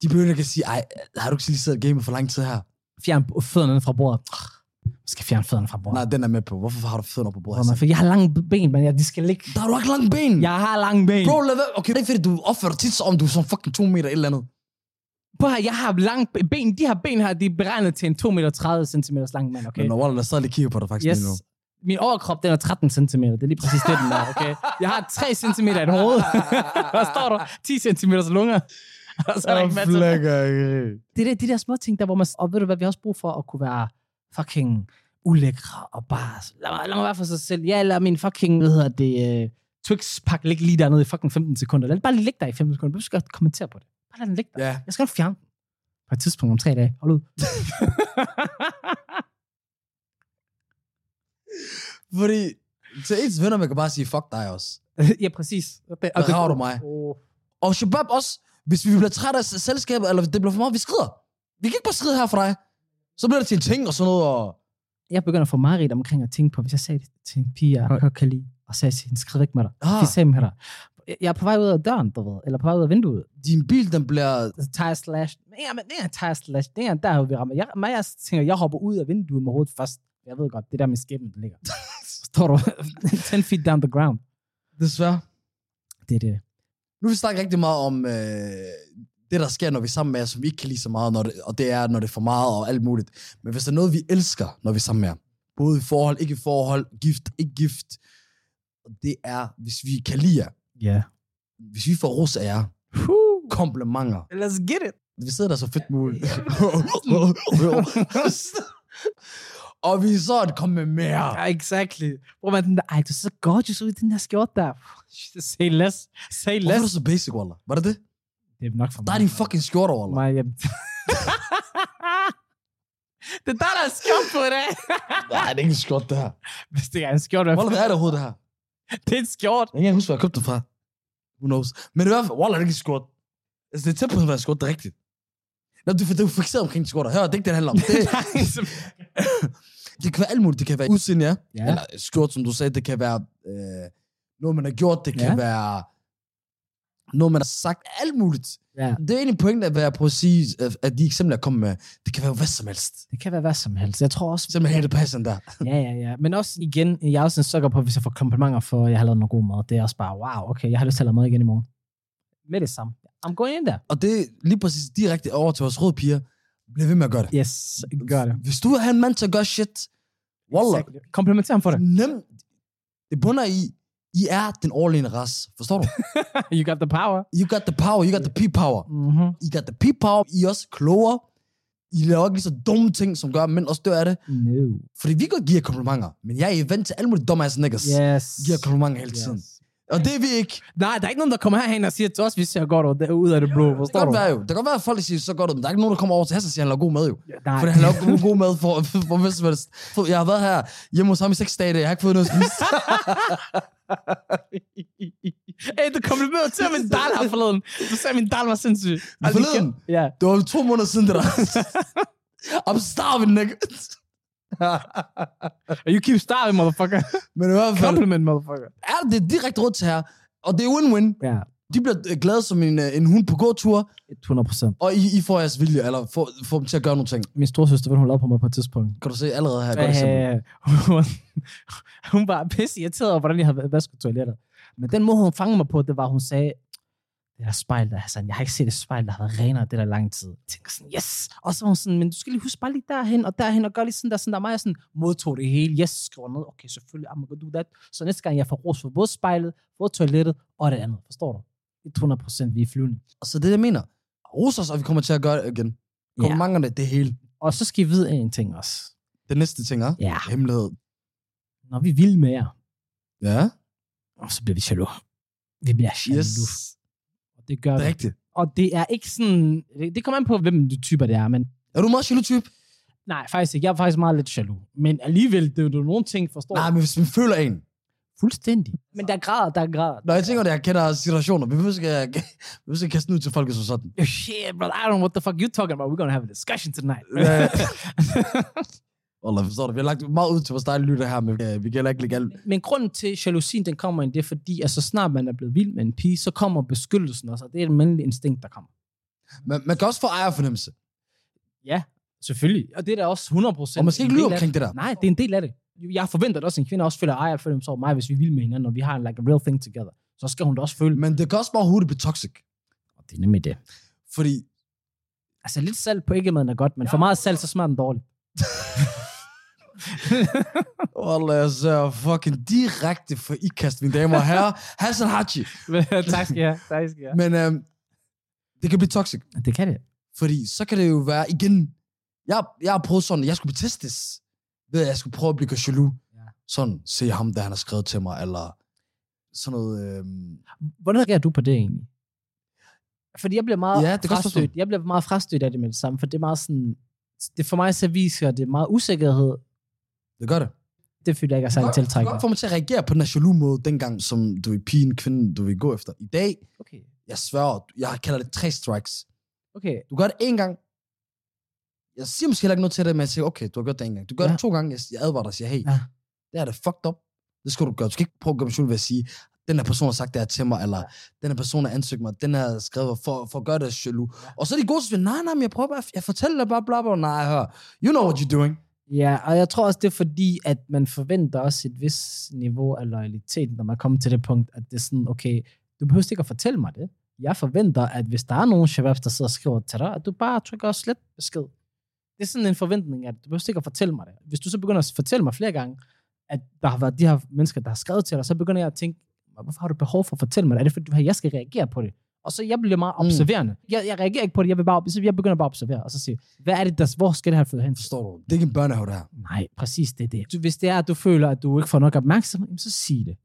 Speaker 2: De begynder at sige, ej, har du ikke lige siddet og gamet for lang tid her?
Speaker 1: Fjern fødderne fra bordet. Ah, Man skal fjerne fødderne fra bordet.
Speaker 2: Nej, den er med på. Hvorfor har du fødderne op på bordet?
Speaker 1: Hvor man, for jeg har lange ben, men jeg, de skal ligge.
Speaker 2: Der har du ikke lange ben.
Speaker 1: altså. Jeg har lange ben.
Speaker 2: Bro, lad være. Okay, det er fordi, du opfører dig tit som om, du er sådan fucking to meter eller andet.
Speaker 1: Prøv at høre, jeg har lange ben. De her ben her, de er beregnet til en 2,30 meter cm lang mand, okay?
Speaker 2: Men når Waller, der stadig lige kigger på dig faktisk
Speaker 1: Yes.
Speaker 2: lige nu.
Speaker 1: Min overkrop, den er 13 cm. Det er lige præcis det, den er, okay? Jeg har 3 cm i et hoved. Hvad står der? 10 cm lunger. Og så er der ikke mere til. Det er det- de der små ting, der hvor man... Og ved du hvad, vi har også brug for at kunne være fucking ulækre og bare... Lad mig, lad mig være for sig selv. Ja, lad min fucking, hvad hedder det... Uh, Twix-pakke ligge lige dernede i fucking 15 sekunder. Lad det bare lige ligge der i 15 sekunder. Du skal ikke kommentere på det. Bare lad den ligge der.
Speaker 2: Ja,
Speaker 1: Jeg skal nok fjerne den. På et tidspunkt om tre dage. Hold ud.
Speaker 2: fordi til ens venner, man kan bare sige, fuck dig også.
Speaker 1: ja, præcis. Og
Speaker 2: Hvad rager du mig?
Speaker 1: Oh.
Speaker 2: Og Shabab også, hvis vi bliver trætte af selskabet, eller det bliver for meget, vi skrider. Vi kan ikke bare skride her for dig. Så bliver det til en ting og sådan noget, og...
Speaker 1: jeg begynder at få mareridt omkring at tænke på, hvis jeg sagde det til en pige, jeg godt kan lide, og Og så sagde jeg til hende, skrid væk med dig.
Speaker 2: Ah.
Speaker 1: Ah. Fis med dig. Jeg- Jeg er på vej ud af døren, du ved, eller på vej ud af vinduet.
Speaker 2: Din bil, den bliver...
Speaker 1: Så tager jeg slash. Ja, men det er en tire slash. Det er en der, hvor vi rammer. Jeg, mig, jeg tænker, jeg hopper ud af vinduet med hovedet først. Jeg ved godt, det er der med skæbnen, den ligger. Så Står du 10 feet down the ground.
Speaker 2: Desværre.
Speaker 1: Det er det.
Speaker 2: Nu vil vi snakke rigtig meget om øh, det, der sker, når vi er sammen med jer, som vi ikke kan lide så meget, når det, og det er, når det er for meget og alt muligt. Men hvis der er noget, vi elsker, når vi er sammen med jer, både i forhold, ikke i forhold, gift, ikke gift, og det er, hvis vi kan lide jer,
Speaker 1: Ja.
Speaker 2: hvis vi får ros af jer,
Speaker 1: Yeah.
Speaker 2: komplimenter.
Speaker 1: Let's get it.
Speaker 2: Vi sidder der så fedt muligt. og vi er sådan, kom med mere.
Speaker 1: Ja, exactly. Hvor man den der, ej, du ser så gorgeous ud i den her skjorte der. Say less. Say
Speaker 2: Hvorfor er
Speaker 1: less.
Speaker 2: du så basic, Walla? Var det det?
Speaker 1: Det er nok for mig.
Speaker 2: Der er din fucking skjort, Walla.
Speaker 1: mig hjem. det er der, der er skjort på det.
Speaker 2: Nej, det er ikke en skjort, det her.
Speaker 1: Hvis det er en skjort, hvad
Speaker 2: Walla, hvad er det overhovedet, det her?
Speaker 1: Det er en skjort.
Speaker 2: Jeg kan ikke huske, hvor jeg købte den fra. Who knows? Men i hvert fald, Walla, det er ikke en skjort. Altså, det er tæt på, at være en skjort, det er rigtigt. Nå, du, du er fixeret omkring skjorter. Hør, det er ikke det, det handler om. Det, det kan være alt muligt. Det kan være udseende, ja.
Speaker 1: ja.
Speaker 2: Eller skjort, som du sagde, det kan være øh, noget, man har gjort. Det kan
Speaker 1: Ja.
Speaker 2: være noget, man har sagt. Alt muligt.
Speaker 1: ja.
Speaker 2: Det er egentlig pointen at være på at sige, at- at de eksempler, jeg kom med, det kan være hvad som helst.
Speaker 1: Det kan være hvad som helst. Jeg tror også,
Speaker 2: Simpelthen helt passer der.
Speaker 1: ja, ja, ja. Men også igen, jeg er også en sukker på, hvis jeg får komplimenter for, at jeg har lavet noget god mad. Det er også bare, wow, okay, jeg har lyst til at lave mad igen i morgen. Med det samme. I'm going in there.
Speaker 2: Og det er lige præcis direkte over til vores røde piger. Bliv ved med at gøre det.
Speaker 1: Yes, gør det.
Speaker 2: Hvis du vil have en mand til at gøre shit, Wallah,
Speaker 1: Exactly. Komplementer ham for det.
Speaker 2: nem, det bunder i, I er den overlegne ras. Forstår du?
Speaker 1: You got the power.
Speaker 2: You got the power, you got the people power.
Speaker 1: Mm-hmm.
Speaker 2: I got the people power, I er også klogere. I laver ikke lige så dumme ting, som gør, at mænd også dør af det.
Speaker 1: No.
Speaker 2: Fordi vi kan godt give jer komplimenter, men jeg er i vant til alle mulige dumme ass niggas.
Speaker 1: Yes.
Speaker 2: Giver komplimenter hele tiden. Og det er vi ikke.
Speaker 1: Nej, der er ikke nogen, der kommer herhen og siger til os, vi ser godt ud, ud af det blå.
Speaker 2: Det kan
Speaker 1: Forstår du?
Speaker 2: godt være jo. Det kan godt være, at folk siger så godt ud, men der er ikke nogen, der kommer over til Hassan og siger, at han laver god mad jo.
Speaker 1: Nej.
Speaker 2: Fordi han laver god- god mad for, for hvad som helst. For Jeg har været her hjemme hos ham i seks dage, i dag. jeg har ikke fået noget at spise.
Speaker 1: Ey, du komplimerer til min dal her forleden. Du sagde, min dal var sindssyg. Altså,
Speaker 2: Forleden?
Speaker 1: Ja.
Speaker 2: Det var to måneder siden, det der. I'm starving, nigga.
Speaker 1: Og you keep starving, motherfucker.
Speaker 2: Men i hvert fald,
Speaker 1: Compliment, motherfucker.
Speaker 2: er det er direkte råd til her. Og det er win-win.
Speaker 1: Ja,
Speaker 2: De bliver øh, glade som en, øh, en hund på gåtur,
Speaker 1: 100 procent.
Speaker 2: og I, I får jeres vilje, eller får, får dem til at gøre nogle ting.
Speaker 1: Min storsøster, hvad hun lavede på mig på et tidspunkt.
Speaker 2: Kan du se allerede her? et
Speaker 1: Æh,
Speaker 2: Godt eksempel.
Speaker 1: Øh, hun, hun var pisse irriteret over, hvordan jeg havde vasket toilettet. Men den måde, hun fangede mig på, det var, hun sagde, det der spejl der, Hassan, jeg har ikke set et spejl, der har været renere det der lang tid. Jeg tænker sådan, yes! Og så var hun sådan, men du skal lige huske bare lige derhen og derhen, og gør lige sådan der, sådan der. Mig jeg sådan, modtog det hele, yes, skriver ned, okay, selvfølgelig, I'm gonna do that. Så næste gang, jeg får ros for både spejlet, både toilettet og det andet, forstår du? 100 procent, vi er flyvende.
Speaker 2: Og så det, jeg mener. Ros os, og vi kommer til at gøre det igen. Kommer mange det, det hele.
Speaker 1: Og så skal I vide en ting også.
Speaker 2: Det næste ting er
Speaker 1: Ja.
Speaker 2: hemmelighed.
Speaker 1: Når vi vil med jer,
Speaker 2: Ja,
Speaker 1: og så bliver vi jaloux. Vi bliver jaloux.
Speaker 2: yes.
Speaker 1: Og det gør
Speaker 2: Det
Speaker 1: vi.
Speaker 2: er rigtigt.
Speaker 1: Og det er ikke sådan... Det, det kommer an på, hvem de typer det er, men...
Speaker 2: Er du en meget jaloux type?
Speaker 1: Nej, faktisk ikke. Jeg er faktisk meget lidt jaloux. Men alligevel, det er jo nogle ting, forstår
Speaker 2: Nej,
Speaker 1: du?
Speaker 2: men hvis man føler en.
Speaker 1: Fuldstændig. Men der er grader, der er grader.
Speaker 2: Når jeg tænker, at jeg kender situationer, vi behøver ikke, at- vi behøver ikke at kaste den ud til folk som sådan.
Speaker 1: Oh, shit, bro. I don't know what the fuck you're talking about. We're gonna have a discussion tonight.
Speaker 2: Ja. Wallah, forstår du? Vi har lagt meget ud til vores dejlige lytter her, men øh, vi kan heller ikke lægge alt.
Speaker 1: men grunden til, at jalousien den kommer ind, det er fordi, at så snart man er blevet vild med en pige, så kommer beskyttelsen også, og det er et mandligt instinkt, der kommer.
Speaker 2: Man, man kan også få ejerfornemmelse.
Speaker 1: Selvfølgelig. Og det er da også 100%.
Speaker 2: Og måske ikke
Speaker 1: en
Speaker 2: lyve
Speaker 1: del af
Speaker 2: omkring det der.
Speaker 1: det. Nej, det er en del af det. Jeg forventer da også, at en kvinde også føler ej, for dem så over mig, hvis vi vil med hinanden, og vi har en like, a real thing together. Så skal hun da også føle,
Speaker 2: Men det kan også bare hurtigt blive toxic.
Speaker 1: Og det er nemlig det.
Speaker 2: Fordi
Speaker 1: Altså lidt salt på æggemaden er godt, men for meget salt, så smager den dårligt.
Speaker 2: Wallah, jeg ser fucking direkte for ikast, mine damer og herrer. Hassan Haji.
Speaker 1: tak skal jeg. Tak skal jeg.
Speaker 2: Men øhm, det kan blive toxic.
Speaker 1: Det kan det.
Speaker 2: Fordi så kan det jo være, igen, jeg, jeg har prøvet sådan, jeg skulle testes, ved at jeg skulle prøve at blive jaloux.
Speaker 1: Ja.
Speaker 2: Ja. Sådan, se ham, der han har skrevet til mig, eller sådan noget. Øhm,
Speaker 1: Hvordan reagerer du på det egentlig? Fordi jeg bliver meget,
Speaker 2: Ja,
Speaker 1: ja,
Speaker 2: det er
Speaker 1: det
Speaker 2: godt
Speaker 1: frastødt.
Speaker 2: spørgsmål.
Speaker 1: Jeg bliver meget frastødt af det med det samme, for det er meget sådan... Det for mig så viser det meget usikkerhed.
Speaker 2: det gør det.
Speaker 1: Det føler jeg ikke er særlig
Speaker 2: det
Speaker 1: tiltrækkende.
Speaker 2: godt få mig til at reagere på den her jaloux måde, dengang, som du er pigen, kvinden, du vil gå efter. I dag,
Speaker 1: Okay.
Speaker 2: jeg sværger, jeg kalder det tre strikes.
Speaker 1: Okay.
Speaker 2: Du gør det én gang, jeg siger måske heller ikke noget til dig, men jeg siger, okay, du har gjort det en gang. Du gør
Speaker 1: Ja.
Speaker 2: ja. det to gange, jeg, jeg advarer dig og siger, hey,
Speaker 1: Ja.
Speaker 2: ja. det er det fucked up. Det skal du gøre. Du skal ikke prøve at gøre mig skjult ved at sige, den her person har sagt det her til mig, eller den her person har ansøgt mig, den her har skrevet for, for at gøre det jaloux. Ja. Og så er de gode, så siger, nej, nej, men jeg prøver bare, jeg fortæller dig bare, bla, bla, nej, hør. You know what you're doing.
Speaker 1: Ja, og jeg tror også, det er fordi, at man forventer også et vis niveau af loyalitet, når man kommer til det punkt, at det er sådan, okay, du behøver ikke at fortælle mig det. Jeg forventer, at hvis der er nogen shababs, der sidder og skriver til dig, at du bare trykker og slet besked. Det er sådan en forventning, at du behøver ikke at fortælle mig det. Hvis du så begynder at fortælle mig flere gange, at der har været de her mennesker, der har skrevet til dig, så begynder jeg at tænke, hvorfor har du behov for at fortælle mig det? Er det fordi, du vil have, at jeg skal reagere på det? Og så jeg bliver meget
Speaker 2: Mm.
Speaker 1: observerende. Mm. Jeg, jeg, reagerer ikke på det, jeg, vil bare, så jeg begynder bare at observere, og så sige, hvad er det, der, hvor skal det her flyde hen?
Speaker 2: Forstår du? Det er ikke en børnehave, det her.
Speaker 1: Nej, præcis det er det. Du, hvis det er, at du føler, at du ikke får nok opmærksomhed, jamen, så sig det.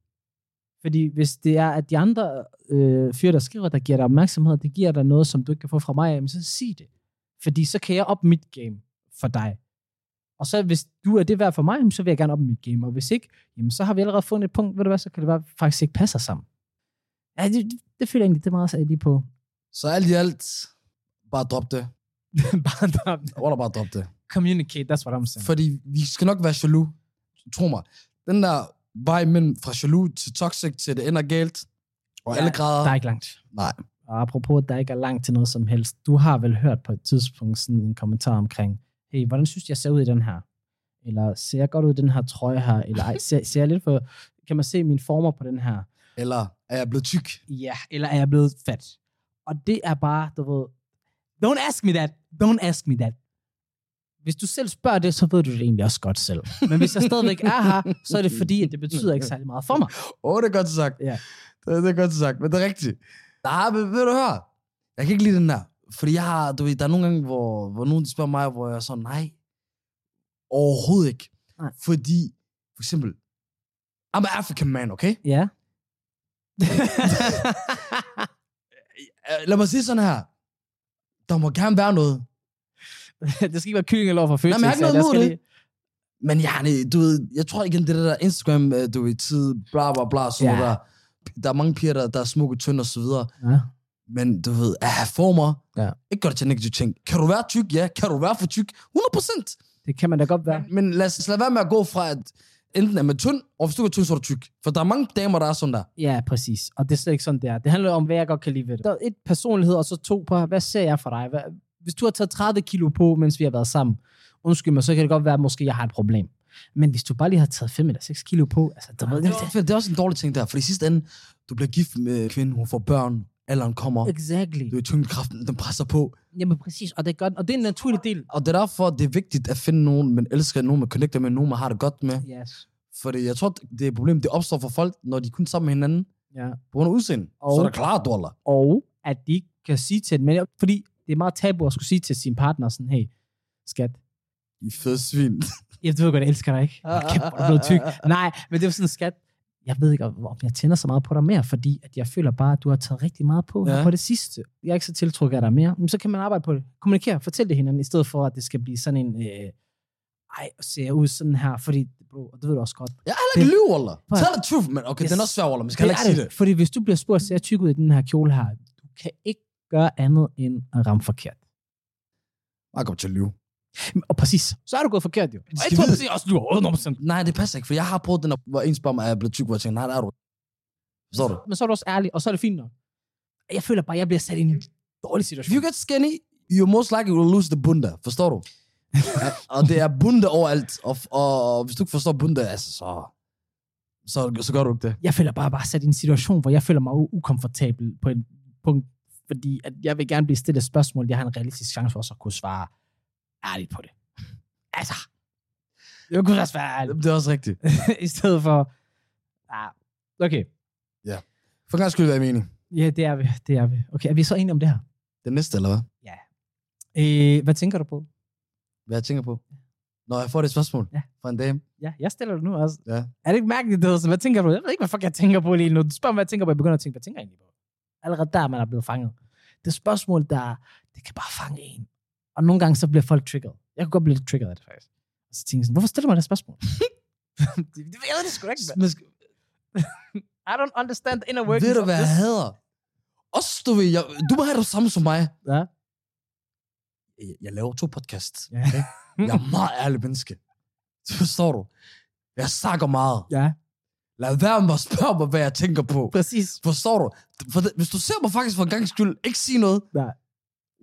Speaker 1: Fordi hvis det er, at de andre øh, fyre, der skriver, der giver dig opmærksomhed, det giver dig noget, som du ikke kan få fra mig, jamen, så sig det. Fordi så kan jeg op mit game for dig. Og så hvis du er det værd for mig, jamen, så vil jeg gerne op mit game. Og hvis ikke, jamen, så har vi allerede fundet et punkt, ved du hvad, så kan det være, at vi faktisk ikke passer sammen. Ja, det, det, det føler jeg egentlig, det er meget særligt lige på.
Speaker 2: Så alt i alt, bare drop det.
Speaker 1: Bare der-
Speaker 2: Wallah, bare drop det.
Speaker 1: Communicate, that's what I'm saying.
Speaker 2: Fordi vi skal nok være jaloux. Tro mig. Den der vej mellem fra jaloux til toxic til det ender galt, og
Speaker 1: Ja,
Speaker 2: alle grader.
Speaker 1: Der er ikke langt.
Speaker 2: Nej.
Speaker 1: Og apropos, at der ikke er langt til noget som helst. Du har vel hørt på et tidspunkt sådan en kommentar omkring, hey, hvordan synes du, jeg ser ud i den her? Eller ser jeg godt ud i den her trøje her? Eller ej, ser, ser jeg lidt for, kan man se mine former på den her?
Speaker 2: Eller er jeg blevet tyk?
Speaker 1: Ja, eller er jeg blevet fat? Og det er bare, du ved, don't ask me that, don't ask me that. Hvis du selv spørger det, så ved du det egentlig også godt selv. Men hvis jeg stadigvæk er her, så er det fordi, at det betyder ikke særlig meget for mig.
Speaker 2: Åh, oh, det er godt sagt.
Speaker 1: Ja.
Speaker 2: Det, det er godt sagt, men det er rigtigt. Nej, men ved du høre? Jeg kan ikke lide den der. Fordi jeg har, du ved, der er nogle gange, hvor, hvor nogen spørger mig, hvor jeg er sådan, nej, overhovedet ikke.
Speaker 1: Nej.
Speaker 2: Fordi, for eksempel, I'm an African man, okay?
Speaker 1: Ja.
Speaker 2: Øh, Lad mig sige sådan her. Der må gerne være noget.
Speaker 1: det skal ikke være kylling eller for fødsel.
Speaker 2: jeg har ikke noget imod det. Men jeg, du ved, jeg tror igen, det der Instagram, øh, du ved, tid, bla bla bla, sådan
Speaker 1: Ja.
Speaker 2: ja. der. Der er mange piger, der, der er smukke, tynde og så videre.
Speaker 1: Ja.
Speaker 2: Men du ved, at have former,
Speaker 1: Ja.
Speaker 2: ikke gør det til en negativ ting. Kan du være tyk? Ja. Kan du være for tyk? 100%.
Speaker 1: Det kan man da godt være.
Speaker 2: Men lad os lad være med at gå fra, at enten er man tynd, og hvis du er tynd, så er du tyk. For der er mange damer, der er sådan der.
Speaker 1: Ja, præcis. Og det er slet ikke sådan, det er. Det handler om, hvad jeg godt kan lide ved det. Der er et personlighed, og så to på, hvad ser jeg for dig? Hvad, hvis du har taget 30 kilo på, mens vi har været sammen, undskyld mig, så kan det godt være, at måske jeg har et problem. Men hvis du bare lige har taget 5 eller 6 kilo på, altså, der ved
Speaker 2: Det er, også- det er også en dårlig ting der, for i sidste ende, du bliver gift med en kvinde, hun får børn, alderen kommer,
Speaker 1: Exactly.
Speaker 2: du er tyngdekraften, den presser på.
Speaker 1: Jamen præcis, og det, gør, den. og det er en naturlig del.
Speaker 2: Og det er derfor, det er vigtigt at finde nogen, man elsker, nogen man connecter med, nogen man har det godt med.
Speaker 1: Yes.
Speaker 2: Fordi jeg tror, det er et problem, det opstår for folk, når de er kun sammen med hinanden
Speaker 1: Ja.
Speaker 2: på grund af udseende.
Speaker 1: Og-
Speaker 2: Så er det klart, du holder.
Speaker 1: og at de ikke kan sige til den, men fordi det er meget tabu at skulle sige til sin partner sådan, hey, skat,
Speaker 2: I fede svin.
Speaker 1: jeg ved godt, jeg elsker dig, ikke?
Speaker 2: Ah,
Speaker 1: Hold Kæft, hvor er du blevet tyk. Nej, men det er jo sådan, skat, jeg ved ikke, om om jeg tænder så meget på dig mere, fordi at jeg føler bare, at du har taget rigtig meget på ja.
Speaker 2: Ja.
Speaker 1: på det sidste. Jeg er ikke så tiltrukket af dig mere. Men så kan man arbejde på det. Kommunikere, fortæl det hinanden, i stedet for, at det skal blive sådan en, øh, ej, ser jeg ud sådan her, fordi, bro, og det ved du også godt.
Speaker 2: Jeg er heller ikke lyve, Walla.
Speaker 1: Prøv at-
Speaker 2: Tell the truth, men okay,
Speaker 1: Yes.
Speaker 2: den er også svær, Walla. Man skal heller
Speaker 1: er
Speaker 2: ikke sige det.
Speaker 1: Fordi hvis du bliver spurgt, ser jeg tyk ud i den her kjole her, du kan ikke gøre andet end at ramme forkert.
Speaker 2: Jeg kommer til at lyve.
Speaker 1: Og præcis, så er du gået forkert jo.
Speaker 2: skal vide-
Speaker 1: jeg også lyver 100%.
Speaker 2: Nej, det passer ikke, for jeg har prøvet den, der, hvor en spørger mig, er jeg blevet tyk, hvor jeg tænker, nej, der er du. ikke. Forstår du?
Speaker 1: Men så er du også ærlig, og så er det fint nok. Jeg føler bare, at jeg bliver sat i en dårlig
Speaker 2: If you
Speaker 1: situation.
Speaker 2: get skinny, you most likely will lose the bunda. Forstår du? Ja, og det er bunda overalt. Og, og, og hvis du ikke forstår bunda, altså, så, så, så gør du ikke det.
Speaker 1: Jeg føler bare, bare sat i en situation, hvor jeg føler mig u- ukomfortabel på en punkt, fordi at jeg vil gerne blive stillet spørgsmål, jeg har en realistisk chance for også at kunne svare ærligt på det. Altså, jeg kunne også være ærlig,
Speaker 2: Det er også rigtigt.
Speaker 1: i stedet for... Ah, okay,
Speaker 2: For en gang skulle det være mening.
Speaker 1: ja, det er vi, det er vi. Okay, er vi så enige om det her?
Speaker 2: Den næste, eller hvad?
Speaker 1: Øh, hvad tænker du på?
Speaker 2: Hvad jeg tænker på? Når jeg får det spørgsmål
Speaker 1: Ja.
Speaker 2: fra en dame.
Speaker 1: Ja, jeg stiller det nu også.
Speaker 2: Ja.
Speaker 1: Er det ikke mærkeligt, det hedder? Hvad tænker du? Jeg ved ikke, hvad fuck jeg tænker på lige nu. Du spørger mig, hvad jeg tænker på. Jeg begynder at tænke, hvad tænker jeg egentlig på? Allerede der, man er blevet fanget. Det spørgsmål, der det kan bare fange en. Og nogle gange, så bliver folk triggered. Jeg kunne godt blive lidt triggered af det, faktisk. Og så tænker jeg sådan, hvorfor stiller man det spørgsmål? Det- det- jeg ved det sgu da ikke. mand.
Speaker 2: Men, sk-
Speaker 1: I don't understand the inner workings
Speaker 2: ved du,
Speaker 1: of
Speaker 2: hvad
Speaker 1: this.
Speaker 2: jeg hader? Også, du ved, jeg, du må have det samme som mig.
Speaker 1: Ja.
Speaker 2: jeg, jeg laver to podcasts.
Speaker 1: Ja.
Speaker 2: Okay? Jeg er meget ærlig menneske. Det forstår du. Jeg snakker meget.
Speaker 1: Ja.
Speaker 2: Lad være med at spørge mig, hvad jeg tænker på.
Speaker 1: Præcis.
Speaker 2: Forstår du? For det, hvis du ser mig faktisk for en gang skyld, ikke sige noget.
Speaker 1: Nej.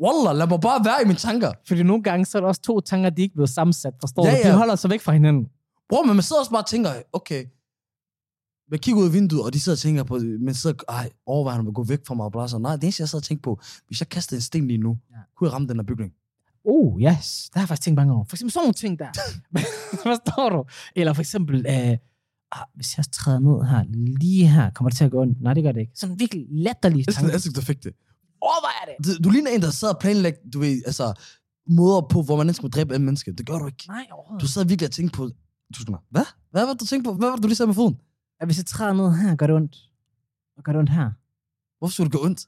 Speaker 2: Wallah, lad mig bare være i mine tanker.
Speaker 1: Fordi nogle gange, så er der også to tanker, de ikke er blevet sammensat, forstår
Speaker 2: Ja,
Speaker 1: du? De
Speaker 2: ja.
Speaker 1: holder sig væk fra hinanden.
Speaker 2: Bro, men man sidder også bare og tænker, okay, man kigger ud af vinduet, og de sidder og tænker på, man sidder, ej, overvejer, om at gå væk fra mig, og bla, så nej, det eneste, jeg sad og tænkte på, hvis jeg kastede en sten lige nu,
Speaker 1: Ja.
Speaker 2: ja. kunne jeg ramme den her bygning?
Speaker 1: Oh, yes. Der har jeg faktisk tænkt mange over. For eksempel sådan nogle ting der. Forstår du? Eller for eksempel, øh, ah, hvis jeg træder ned her, lige her, kommer det til at gå ondt? Nej, det gør det ikke. Sådan virkelig latterlige
Speaker 2: Jeg synes,
Speaker 1: tanker.
Speaker 2: jeg synes, du fik det.
Speaker 1: Overvejer det.
Speaker 2: Du, du ligner en, der sidder og planlægger, du ved, altså, måder på, hvor man ikke må dræbe en menneske. Det gør du ikke.
Speaker 1: Nej,
Speaker 2: Du
Speaker 1: overhovedet.
Speaker 2: sidder virkelig og tænker på, du skal mig, hvad? Hvad var det, du tænkte på? Hvad var det, du lige sagde med foden?
Speaker 1: At hvis jeg træder ned her, gør det ondt. Og gør det ondt her.
Speaker 2: Hvorfor skulle det gå ondt?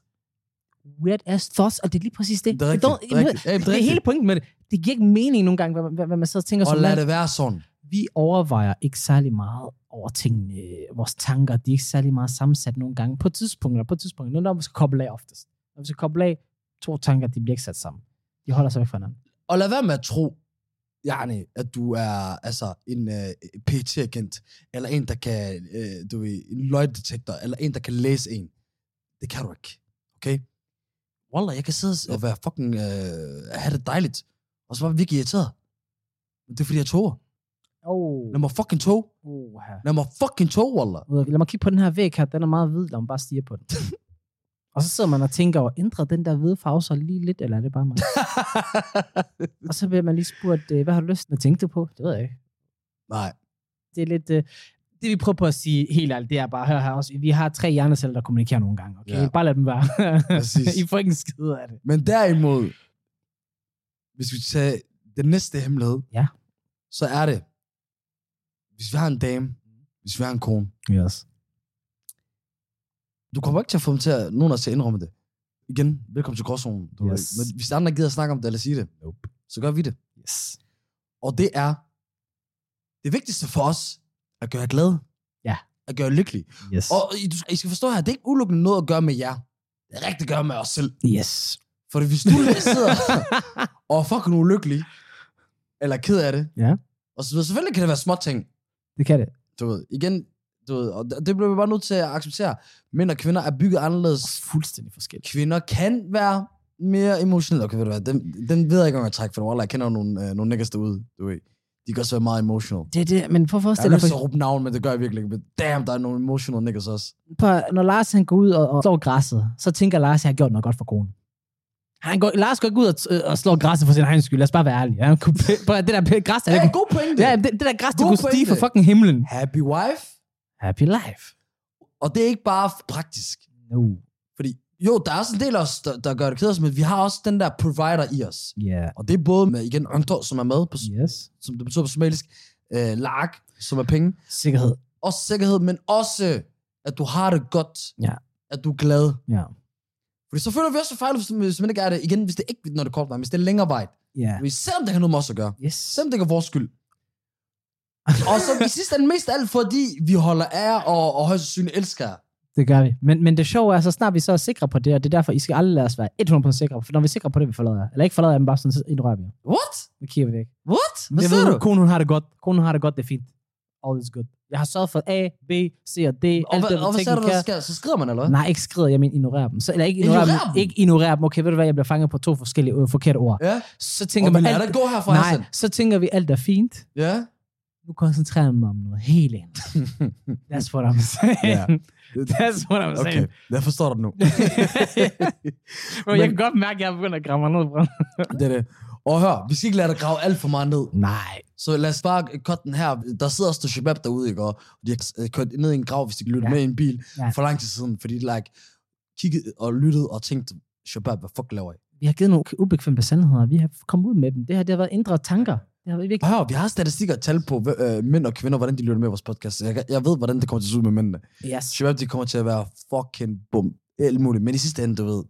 Speaker 1: Weird ass thoughts, og det er lige præcis det.
Speaker 2: Det er rigtigt.
Speaker 1: don't-
Speaker 2: Det er, rigtigt. Ja,
Speaker 1: det er hele pointen med det. Det giver ikke mening nogle gange, hvad, hvad, hvad man så tænker
Speaker 2: Og
Speaker 1: som
Speaker 2: lad
Speaker 1: mand.
Speaker 2: det være sådan.
Speaker 1: Vi overvejer ikke særlig meget over tingene. Vores tanker, de er ikke særlig meget sammensat nogle gange. På tidspunkter, på tidspunkter. Nu når vi skal koble af oftest. Når vi skal koble af, to tanker, de bliver ikke sat sammen. De holder sig væk fra hinanden.
Speaker 2: Og lad være med at tro, yani, at du er altså, en øh, pt agent eller en, der kan, øh, du ved, en løgdetektor, eller en, der kan læse en. Det kan du ikke, okay? Wallah, jeg kan sidde og være fucking, øh, have det dejligt, og så bare virkelig irriteret. Men det er, fordi jeg tog.
Speaker 1: Oh.
Speaker 2: Lad mig fucking tog.
Speaker 1: Oh, her.
Speaker 2: Lad mig fucking tog, Wallah.
Speaker 1: Lad mig kigge på den her væg her. Den er meget hvid. Lad mig bare stige på den. og så sidder man og tænker over, ændrer den der hvide farve så lige lidt, eller er det bare mig? og så bliver man lige spurgt, øh, hvad har du lyst til at tænke på? Det ved jeg ikke.
Speaker 2: Nej,
Speaker 1: det er lidt... Øh, det vi prøver på at sige helt ærligt, det er bare, hør her også, vi har tre hjerneceller, der kommunikerer nogle gange, okay?
Speaker 2: Ja.
Speaker 1: Bare lad dem være.
Speaker 2: præcis.
Speaker 1: I får ikke en skid af det.
Speaker 2: Men derimod, hvis vi tager den næste hemmelighed,
Speaker 1: Ja.
Speaker 2: så er det, hvis vi har en dame, hvis vi har en kone,
Speaker 1: Yes.
Speaker 2: du kommer ikke til at få dem til at, nogen af os til at indrømme det. Igen, velkommen til gråzonen. Du
Speaker 1: Yes.
Speaker 2: yes. Men hvis andre gider at snakke om det eller sige det,
Speaker 1: Nope.
Speaker 2: så gør vi det.
Speaker 1: Yes.
Speaker 2: Og det er det vigtigste for os, at gøre jer glade.
Speaker 1: Ja.
Speaker 2: At gøre jer lykkelig.
Speaker 1: Yes.
Speaker 2: Og I, du- I skal forstå her, det er ikke udelukkende noget at gøre med jer. Det er rigtig at gøre med os selv.
Speaker 1: Yes.
Speaker 2: For hvis du sidder og er fucking ulykkelig, eller ked af det,
Speaker 1: Ja.
Speaker 2: og så videre, selvfølgelig kan det være små ting,
Speaker 1: Det kan det.
Speaker 2: du ved, igen, du ved, og det- det bliver vi bare nødt til at acceptere. Mænd og kvinder er bygget anderledes.
Speaker 1: Fuldstændig forskelligt.
Speaker 2: Kvinder kan være mere emotionelle. Okay, ved du hvad, dem, dem ved jeg ikke, om jeg trækker for det. Wallah, Jeg kender jo nogle, øh, nogle niggas derude, du ved. De kan også være meget emotional.
Speaker 1: Det er det, men prøv at
Speaker 2: Jeg har
Speaker 1: forestille dig,
Speaker 2: lyst til
Speaker 1: for,
Speaker 2: at råbe navn, men det gør jeg virkelig ikke. Men damn, der er nogle emotional niggas også.
Speaker 1: for, når Lars han går ud og, og slår græsset, så tænker Lars, at jeg har gjort noget godt for konen. Han går, Lars går ikke ud og, t- og slår græsset for sin egen skyld. Lad os bare være ærlige. Han kunne, prøv, at det der p- græs, der,
Speaker 2: Ja,
Speaker 1: det kunne,
Speaker 2: god pointe.
Speaker 1: ja, det, det der græs, det
Speaker 2: God
Speaker 1: kunne stige
Speaker 2: pointe.
Speaker 1: fra fucking himlen.
Speaker 2: Happy wife.
Speaker 1: Happy life.
Speaker 2: Og det er ikke bare praktisk.
Speaker 1: No.
Speaker 2: Fordi jo, der er også en del af os, der, der gør det ked af os, men vi har også den der provider i os.
Speaker 1: Yeah.
Speaker 2: Og det er både med, igen, Ongtor, som er med, på,
Speaker 1: Yes.
Speaker 2: som det betyder på somalisk, øh, lark, som er penge,
Speaker 1: Sikkerhed.
Speaker 2: og sikkerhed, men også, at du har det godt.
Speaker 1: Ja.
Speaker 2: At du er glad.
Speaker 1: Ja.
Speaker 2: Fordi så føler vi også fejl, hvis, hvis man ikke er det. Igen, hvis det ikke når det er kort vej, hvis det er længere vej.
Speaker 1: Ja.
Speaker 2: Men selvom det kan noget med os at gøre.
Speaker 1: Yes.
Speaker 2: Selvom det ikke er vores skyld. og så i sidste ende mest af alt, fordi vi holder af jer og, og højst sandsynligt elsker jer.
Speaker 1: Det gør vi. Men, men det sjove er, så snart vi så er sikre på det, og det er derfor, I skal aldrig lade os være 100% sikre, for når vi er sikre på det, vi forlader jer. Eller ikke forlader jer, men bare sådan, så indrører vi jer.
Speaker 2: What?
Speaker 1: Vi kigger væk.
Speaker 2: What? Hvad
Speaker 1: Jeg
Speaker 2: siger
Speaker 1: ved,
Speaker 2: du?
Speaker 1: Konen hun har det godt. Konen hun har det godt, det er fint. All is good. Jeg har sørget for A, B, C og D.
Speaker 2: Og,
Speaker 1: alt
Speaker 2: hvad,
Speaker 1: det,
Speaker 2: og hvad
Speaker 1: ting,
Speaker 2: sagde
Speaker 1: I
Speaker 2: du,
Speaker 1: kan.
Speaker 2: der sker? Så skrider man, eller hvad?
Speaker 1: Nej, ikke skrider, jeg mener ignorere dem. Så, eller ikke ignorere,
Speaker 2: Ignorer
Speaker 1: dem.
Speaker 2: dem?
Speaker 1: Ikke ignorere dem. Okay, ved du hvad, jeg bliver fanget på to forskellige øh, forkerte ord.
Speaker 2: Ja.
Speaker 1: Så tænker
Speaker 2: og
Speaker 1: man,
Speaker 2: man lader
Speaker 1: alt,
Speaker 2: det gå herfra,
Speaker 1: nej,
Speaker 2: Hassan.
Speaker 1: så tænker vi, alt er fint.
Speaker 2: Ja.
Speaker 1: Nu koncentrerer jeg mig om noget helt andet. That's what I'm saying.
Speaker 2: Ja.
Speaker 1: That's what I'm
Speaker 2: Okay,
Speaker 1: saying.
Speaker 2: jeg forstår dig nu.
Speaker 1: Bro, jeg kan godt mærke, at jeg er begyndt at græmme ned, bro.
Speaker 2: det er det. Og hør, vi skal ikke lade dig grave alt for meget ned.
Speaker 1: Nej.
Speaker 2: Så lad os bare cut den her. Der sidder også shabab derude, ikke? Og de har øh, kørt ned i en grav, hvis de kan lytte
Speaker 1: Ja.
Speaker 2: ja. med i en bil
Speaker 1: Ja.
Speaker 2: ja. for lang tid siden. Fordi de like, kiggede og lyttede og tænkte, shabab, hvad fuck laver I?
Speaker 1: Vi har givet nogle ubekvemte sandheder. Vi har kommet ud med dem. Det her, det har været indre tanker. Det har været
Speaker 2: Og
Speaker 1: virkelig...
Speaker 2: hør, vi har statistikker og tal på hvem- øh, mænd og kvinder, hvordan de lytter med i vores podcast. Jeg, jeg ved, hvordan det kommer til at se ud med mændene.
Speaker 1: Yes.
Speaker 2: Shabab, de kommer til at være fucking bum. Alt muligt. Men i sidste ende, du ved,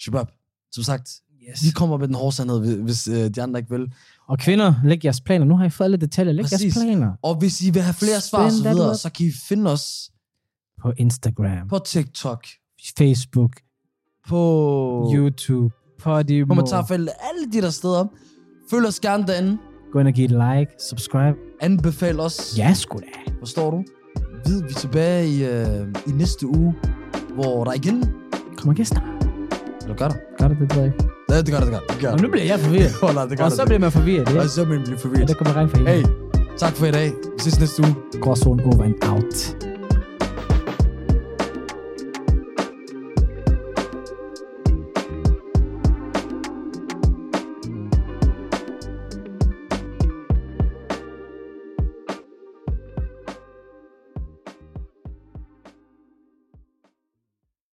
Speaker 2: Shabab, som sagt,
Speaker 1: yes.
Speaker 2: De kommer med den hårde sandhed, hvis- hvis øh, de andre ikke vil.
Speaker 1: Og kvinder, læg jeres planer. Nu har I fået alle detaljer. Læg
Speaker 2: Præcis.
Speaker 1: jeres planer.
Speaker 2: Og hvis I vil have flere svar og så
Speaker 1: Spænd dig
Speaker 2: videre,
Speaker 1: op.
Speaker 2: så kan I finde os
Speaker 1: På Instagram,
Speaker 2: på TikTok,
Speaker 1: Facebook,
Speaker 2: på
Speaker 1: YouTube, Podimo.
Speaker 2: kommentarfelt, alle de der steder. Følg os gerne derinde.
Speaker 1: Gå ind og give et like, subscribe.
Speaker 2: Anbefal os.
Speaker 1: Ja, sgu da.
Speaker 2: Forstår du? Vid, vi er tilbage i, øh, i næste uge, hvor der igen...
Speaker 1: Kommer gæster.
Speaker 2: Eller gør der?
Speaker 1: Gør det, det ved jeg ikke.
Speaker 2: Ja, det gør der, det gør der. Det gør
Speaker 1: Og
Speaker 2: der.
Speaker 1: nu bliver jeg forvirret.
Speaker 2: Hold da, det gør
Speaker 1: Og
Speaker 2: der,
Speaker 1: så
Speaker 2: det.
Speaker 1: bliver man forvirret. Ja,
Speaker 2: Og så bliver man
Speaker 1: ja
Speaker 2: forvirret.
Speaker 1: det kommer rent for en.
Speaker 2: Hey, tak for i dag. Vi ses næste uge.
Speaker 1: Gråzone over and out.